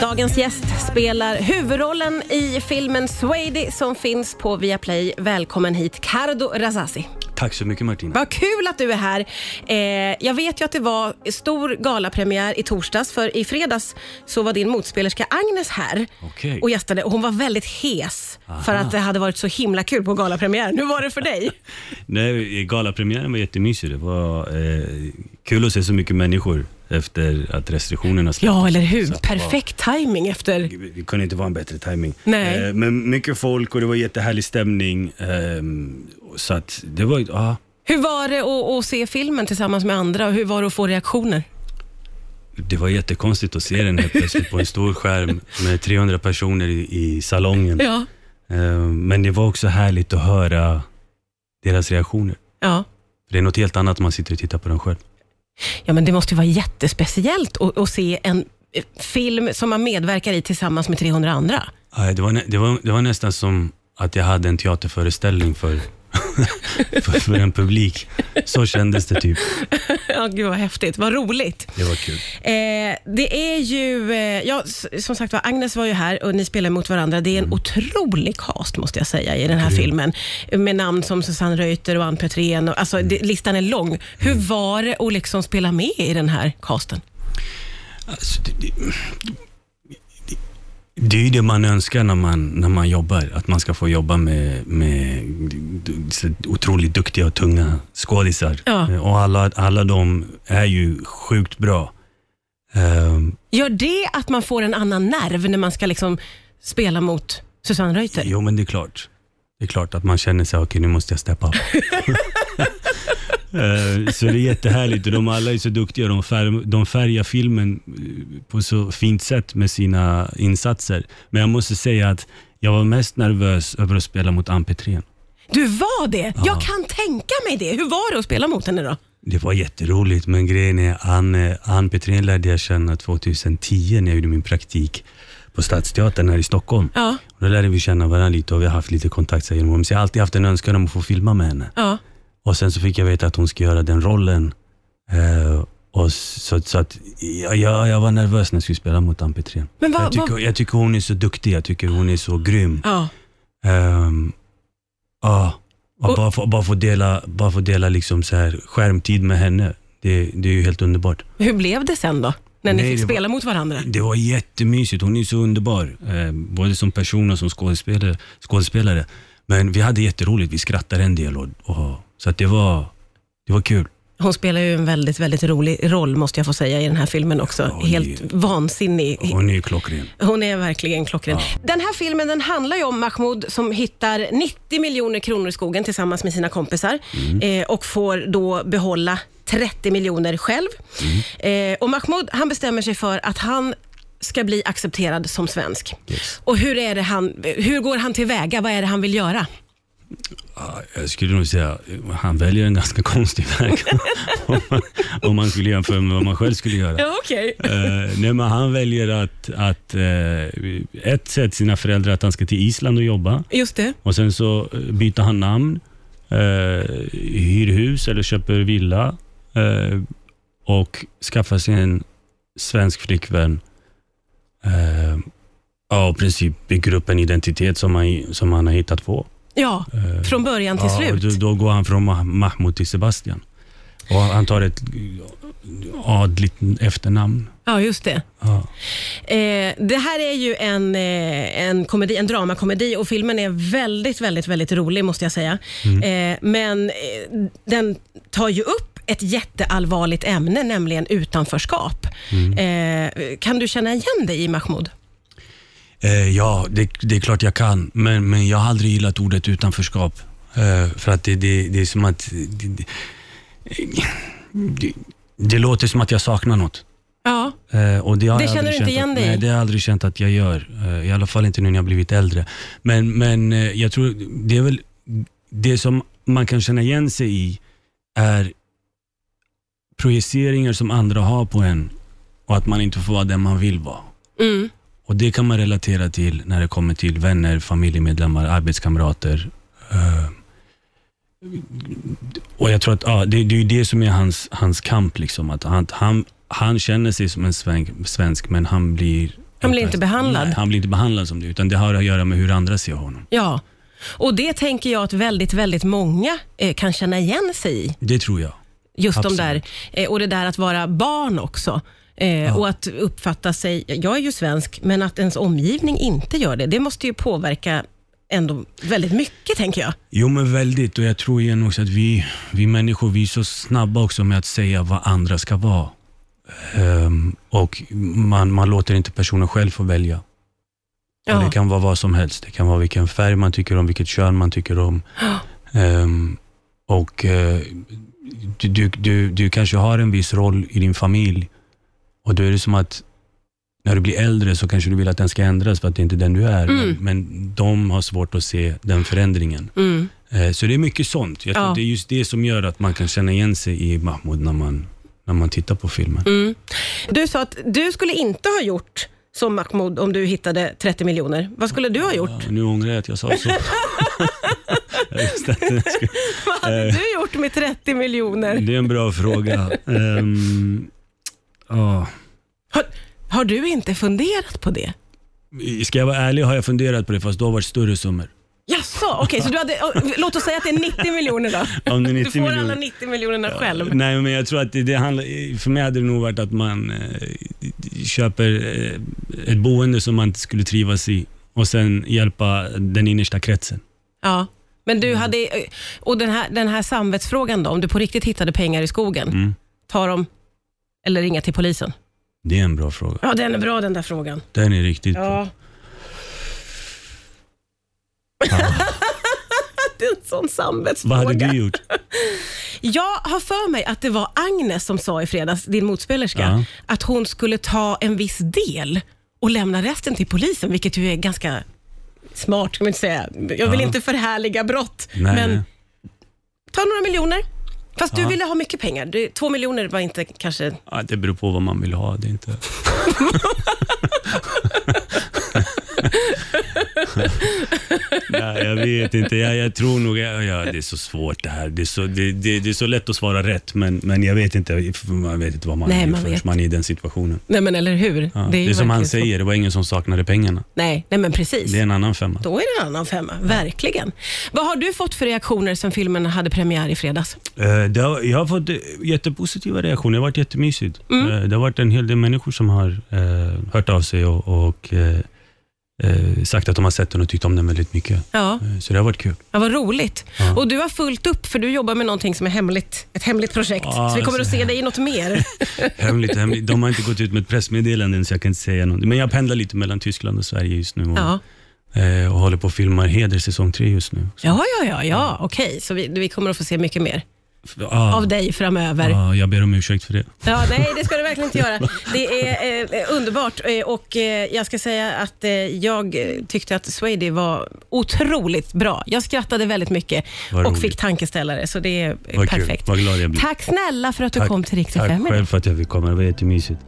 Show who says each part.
Speaker 1: Dagens gäst spelar huvudrollen i filmen Swady som finns på Viaplay. Välkommen hit, Cardo Razassi.
Speaker 2: Tack så mycket Martina.
Speaker 1: Vad kul att du är här. Eh, jag vet ju att det var stor galapremiär i torsdags, för i fredags så var din motspelerska Agnes här
Speaker 2: Okej.
Speaker 1: och gästade och hon var väldigt hes för att det hade varit så himla kul på galapremiären. Hur var det för dig?
Speaker 2: Nej, galapremiären var jättemysig. Det var eh, kul att se så mycket människor efter att restriktionerna släpptes.
Speaker 1: ja, eller hur?
Speaker 2: Så att det var-
Speaker 1: Perfekt timing efter
Speaker 2: Det kunde inte vara en bättre timing.
Speaker 1: Nej.
Speaker 2: Eh, men mycket folk och det var jättehärlig stämning. ehm, så att det var, ja,
Speaker 1: Hur var det att, att se filmen tillsammans med andra och hur var det att få reaktioner?
Speaker 2: det var jättekonstigt att se den helt plötsligt på en stor skärm med 300 personer i, i salongen.
Speaker 1: Ja.
Speaker 2: Ehm, men det var också härligt att höra deras reaktioner.
Speaker 1: Ja,
Speaker 2: För det är något helt annat när man sitter och tittar på den själv.
Speaker 1: ja men det måste ju vara jättespeciellt att, att se en eh, film som man medverkar i tillsammans med 300 andra.
Speaker 2: Nej, det, var nä- det, var, det var nästan som att jag hade en teaterföreställning för, för, för en publik. Så kändes det typ.
Speaker 1: Ja, gud vad häftigt. Vad roligt.
Speaker 2: Det var kul.
Speaker 1: Eh, det är ju, eh, ja, s- som sagt var, Agnes var ju här och ni spelar mot varandra. Det är en otrolig cast måste jag säga i den här filmen. Med namn som Susanne Reuter och Ann Petrén. Och, alltså, det, listan är lång. Hur var det att liksom spela med i den här casten?
Speaker 2: Alltså, det, det, det- det är ju det man önskar när man, när man jobbar. Att man ska få jobba med, med så otroligt duktiga och tunga skådisar.
Speaker 1: Ja.
Speaker 2: Eh, Och alla, alla de är ju sjukt bra. Ehm,
Speaker 1: Gör det att man får en annan nerv när man ska liksom spela mot Susanne Reuter?
Speaker 2: Jo, men det är klart. Det är klart att man känner sig, okej nu måste jag steppa upp. Eh, så det är jättehärligt och de alla är så duktiga. De, fär, de färgar filmen eh, på så fint sätt med sina insatser. Men jag måste säga att jag var mest nervös över att spela mot Ann Petrén.
Speaker 1: Du var det? Jag kan tänka mig det. Hur var det att spela mot henne då?
Speaker 2: Det var jätteroligt, men grejen är Ann, eh, Ann Petrén lärde jag känna 2010 när jag gjorde min praktik på Stadsteatern här i Stockholm.
Speaker 1: Ja,
Speaker 2: Och då lärde vi känna varandra lite och vi har haft lite kontakt så här genom åren. Så jag har alltid haft en önskan om att få filma med henne.
Speaker 1: ja.
Speaker 2: Och sen så fick jag veta att hon ska göra den rollen. Eh, och så, så att, ja, ja, jag var nervös när jag skulle spela mot Ann Petrén.
Speaker 1: Men vad-
Speaker 2: jag, tycker, jag tycker hon är så duktig, jag tycker hon är så grym.
Speaker 1: ja.
Speaker 2: Ehm, Ja, och
Speaker 1: Och-
Speaker 2: bara få, bara få dela, bara få dela liksom så här skärmtid med henne, det, det är ju helt underbart.
Speaker 1: Hur blev det sen då? När ni
Speaker 2: Nej,
Speaker 1: fick
Speaker 2: det var-
Speaker 1: spela mot varandra?
Speaker 2: Det var jättemysigt. Hon är så underbar, eh, både som person och som skådespelare. skådespelare. Men vi hade jätteroligt. Vi skrattade en del. Och, och, så att det, var, det var kul.
Speaker 1: Hon spelar ju en väldigt, väldigt rolig roll måste jag få säga i den här filmen också.
Speaker 2: hon är-
Speaker 1: Helt vansinnig.
Speaker 2: Hon är ju klockren.
Speaker 1: Hon är verkligen klockren. Den här filmen den handlar ju om Mahmoud som hittar 90 miljoner kronor i skogen tillsammans med sina kompisar eh, och får då behålla 30 miljoner själv. Eh, och Mahmoud han bestämmer sig för att han ska bli accepterad som svensk. Och hur, är det han, hur går han tillväga? Vad är det han vill göra?
Speaker 2: Ja, Jag skulle nog säga øh, han väljer en ganska konstig väg om, man, om man skulle jämföra med vad man själv skulle göra.
Speaker 1: Ja, okej.
Speaker 2: Eh, nej, men han väljer att, att eh, ett sätt sina föräldrar att han ska till Island och jobba.
Speaker 1: Just det.
Speaker 2: Och sen så eh, byter han namn, eh, hyr hus eller köper villa eh, och skaffar sig en svensk flickvän. Eh, ja, i princip bygger upp en identitet som han, som han har hittat på.
Speaker 1: Ja, från början till
Speaker 2: Ja, och
Speaker 1: slut.
Speaker 2: då, då går han från Mah- Mahmoud till Sebastian. Och han tar ett adligt efternamn.
Speaker 1: Ja, just det.
Speaker 2: Ja.
Speaker 1: Eh, det här är ju en, eh, en, komedi, en dramakomedi och filmen är väldigt, väldigt, väldigt rolig måste jag säga. Eh, men eh, den tar ju upp ett jätteallvarligt ämne, nämligen utanförskap. Eh, kan du känna igen dig i Mahmoud?
Speaker 2: Eh, ja, det, det är klart jag kan, men, men jag har aldrig gillat ordet utanförskap. Eh, för att det, det, det är som att... Det, det, det, det låter som att jag saknar något.
Speaker 1: Ja.
Speaker 2: Eh, och det har
Speaker 1: Det
Speaker 2: jag
Speaker 1: känner
Speaker 2: aldrig
Speaker 1: du inte
Speaker 2: känt
Speaker 1: igen
Speaker 2: att,
Speaker 1: dig i?
Speaker 2: Nej, det har jag aldrig känt att jag gör. Eh, I alla fall inte nu när jag blivit äldre. Men, men eh, jag tror, det är väl det som man kan känna igen sig i är projiceringar som andra har på en och att man inte får vara den man vill vara.
Speaker 1: Mm.
Speaker 2: Och Det kan man relatera till när det kommer till vänner, familjemedlemmar, arbetskamrater. Eh, och jag tror att ja, det, det är ju det som är hans, hans kamp. Liksom, att han, han, han känner sig som en svensk, svensk men han blir
Speaker 1: Han blir inte behandlad.
Speaker 2: Nej, han blir inte behandlad som det, utan det har att göra med hur andra ser honom.
Speaker 1: Ja. Och det tänker jag att väldigt, väldigt många eh, kan känna igen sig i.
Speaker 2: Det tror jag.
Speaker 1: Just de
Speaker 2: Absolut.
Speaker 1: där, eh, och det där att vara barn också. Eh, Och att uppfatta sig, jag är ju svensk, men att ens omgivning inte gör det, det måste ju påverka ändå väldigt mycket, tänker jag.
Speaker 2: Jo men väldigt och jag tror igen också att vi, vi människor vi är så snabba också med att säga vad andra ska vara. Ehm, och man, man låter inte personen själv få välja. Och
Speaker 1: Ja.
Speaker 2: det kan vara vad som helst. Det kan vara vilken färg man tycker om, vilket kön man tycker om. Ehm, och eh, du, du, du, du kanske har en viss roll i din familj och då är det som att när du blir äldre så kanske du vill att den ska ändras för att det inte är den du är. Men, men de har svårt att se den förändringen.
Speaker 1: Mm.
Speaker 2: Eh, Så det är mycket sånt. Jag tror
Speaker 1: Ja.
Speaker 2: att Det är just det som gör att man kan känna igen sig i Mahmoud när man, när man tittar på filmen.
Speaker 1: Mm. Du sa att du skulle inte ha gjort som Mahmoud om du hittade 30 miljoner. Vad skulle du ha gjort?
Speaker 2: Ja, nu ångrar jag att jag sa så. Jag visste att det skulle-
Speaker 1: Vad
Speaker 2: Eh.
Speaker 1: hade du gjort med 30 miljoner?
Speaker 2: det är en bra fråga. Ehm, ja.
Speaker 1: Har, har du inte funderat på det?
Speaker 2: Ska jag vara ärlig har jag funderat på det, fast då har det varit större summor.
Speaker 1: Jaså, okej, så du hade, oh, låt oss säga att det är 90 miljoner då.
Speaker 2: Om det är 90
Speaker 1: Du får alla
Speaker 2: miljoner.
Speaker 1: 90 miljonerna själv.
Speaker 2: Nej, men jag tror att det, det handlar, för mig hade det nog varit att man eh, köper eh, ett boende som man inte skulle trivas i och sen hjälpa den innersta kretsen.
Speaker 1: Ja, men
Speaker 2: Mm.
Speaker 1: du hade... eh, Och den här, den här samvetsfrågan då, om du på riktigt hittade pengar i skogen,
Speaker 2: Mm.
Speaker 1: ta dem eller ringa till polisen?
Speaker 2: Det är en bra fråga.
Speaker 1: Ja, den är bra den där frågan.
Speaker 2: Den är riktigt bra.
Speaker 1: Ja. det är en sån
Speaker 2: Vad hade
Speaker 1: samvetsfråga.
Speaker 2: du gjort?
Speaker 1: Jag har för mig att det var Agnes som sa i fredags, din motspelerska,
Speaker 2: Ja.
Speaker 1: att hon skulle ta en viss del och lämna resten till polisen, vilket ju är ganska smart, ska man inte säga. Jag vill
Speaker 2: Ja.
Speaker 1: inte förhärliga brott,
Speaker 2: Nej.
Speaker 1: men ta några miljoner. Fast du
Speaker 2: Ja.
Speaker 1: ville ha mycket pengar. Du, två miljoner var inte kanske...
Speaker 2: Ja, det beror på vad man vill ha. Det är inte... Nej, jag vet inte. Jag, jag tror nog... Ja, ja, det är så svårt det här. Det är så, det, det, det är så lätt att svara rätt, men, men jag vet inte. Man vet inte vad man
Speaker 1: Nej,
Speaker 2: vill
Speaker 1: man
Speaker 2: förrän
Speaker 1: vet.
Speaker 2: man är i den situationen.
Speaker 1: Nej, men eller hur?
Speaker 2: Ja,
Speaker 1: ju
Speaker 2: det är som han
Speaker 1: verkligen så.
Speaker 2: säger, det var ingen som saknade pengarna.
Speaker 1: Nej, nej, men precis.
Speaker 2: Det är en annan femma.
Speaker 1: Då är det en annan femma, verkligen. Vad har du fått för reaktioner sen filmen hade premiär i fredags?
Speaker 2: Eh, Det har, jag har fått eh, jättepositiva reaktioner. Det har varit jättemysigt.
Speaker 1: Mm.
Speaker 2: Eh, Det har varit en hel del människor som har eh, hört av sig och, och eh, eh, sagt att de har sett den och tyckt om den väldigt mycket.
Speaker 1: Ja,
Speaker 2: Eh, Så det har varit kul.
Speaker 1: ja vad roligt.
Speaker 2: Ja.
Speaker 1: Och du har fullt upp för du jobbar med någonting som är hemligt. Ett hemligt projekt.
Speaker 2: Ja,
Speaker 1: så vi kommer att
Speaker 2: alltså.
Speaker 1: se dig i något mer.
Speaker 2: Hemligt, hemligt. De har inte gått ut med ett pressmeddelande än, så jag kan inte säga något. Men jag pendlar lite mellan Tyskland och Sverige just nu och,
Speaker 1: Ja,
Speaker 2: eh, och håller på och filmar Heder säsong tre just nu. Så,
Speaker 1: ja, ja, ja, ja. okej. Så vi, vi kommer att få se mycket mer
Speaker 2: ja,
Speaker 1: av dig framöver.
Speaker 2: ja, Ah, jag ber om ursäkt för det.
Speaker 1: Ja, nej, det ska du verkligen inte göra. Det är eh, underbart eh, och eh, jag ska säga att eh, jag eh, tyckte att Swady var otroligt bra. Jag skrattade väldigt mycket
Speaker 2: Vad
Speaker 1: och
Speaker 2: roligt.
Speaker 1: fick tankeställare, så det är eh,
Speaker 2: Vad kul.
Speaker 1: perfekt.
Speaker 2: Vad glad jag blir.
Speaker 1: Tack snälla för att du kom till Riktigt
Speaker 2: Tack
Speaker 1: fem idag.
Speaker 2: själv för att jag fick komma. Det var jättemysigt.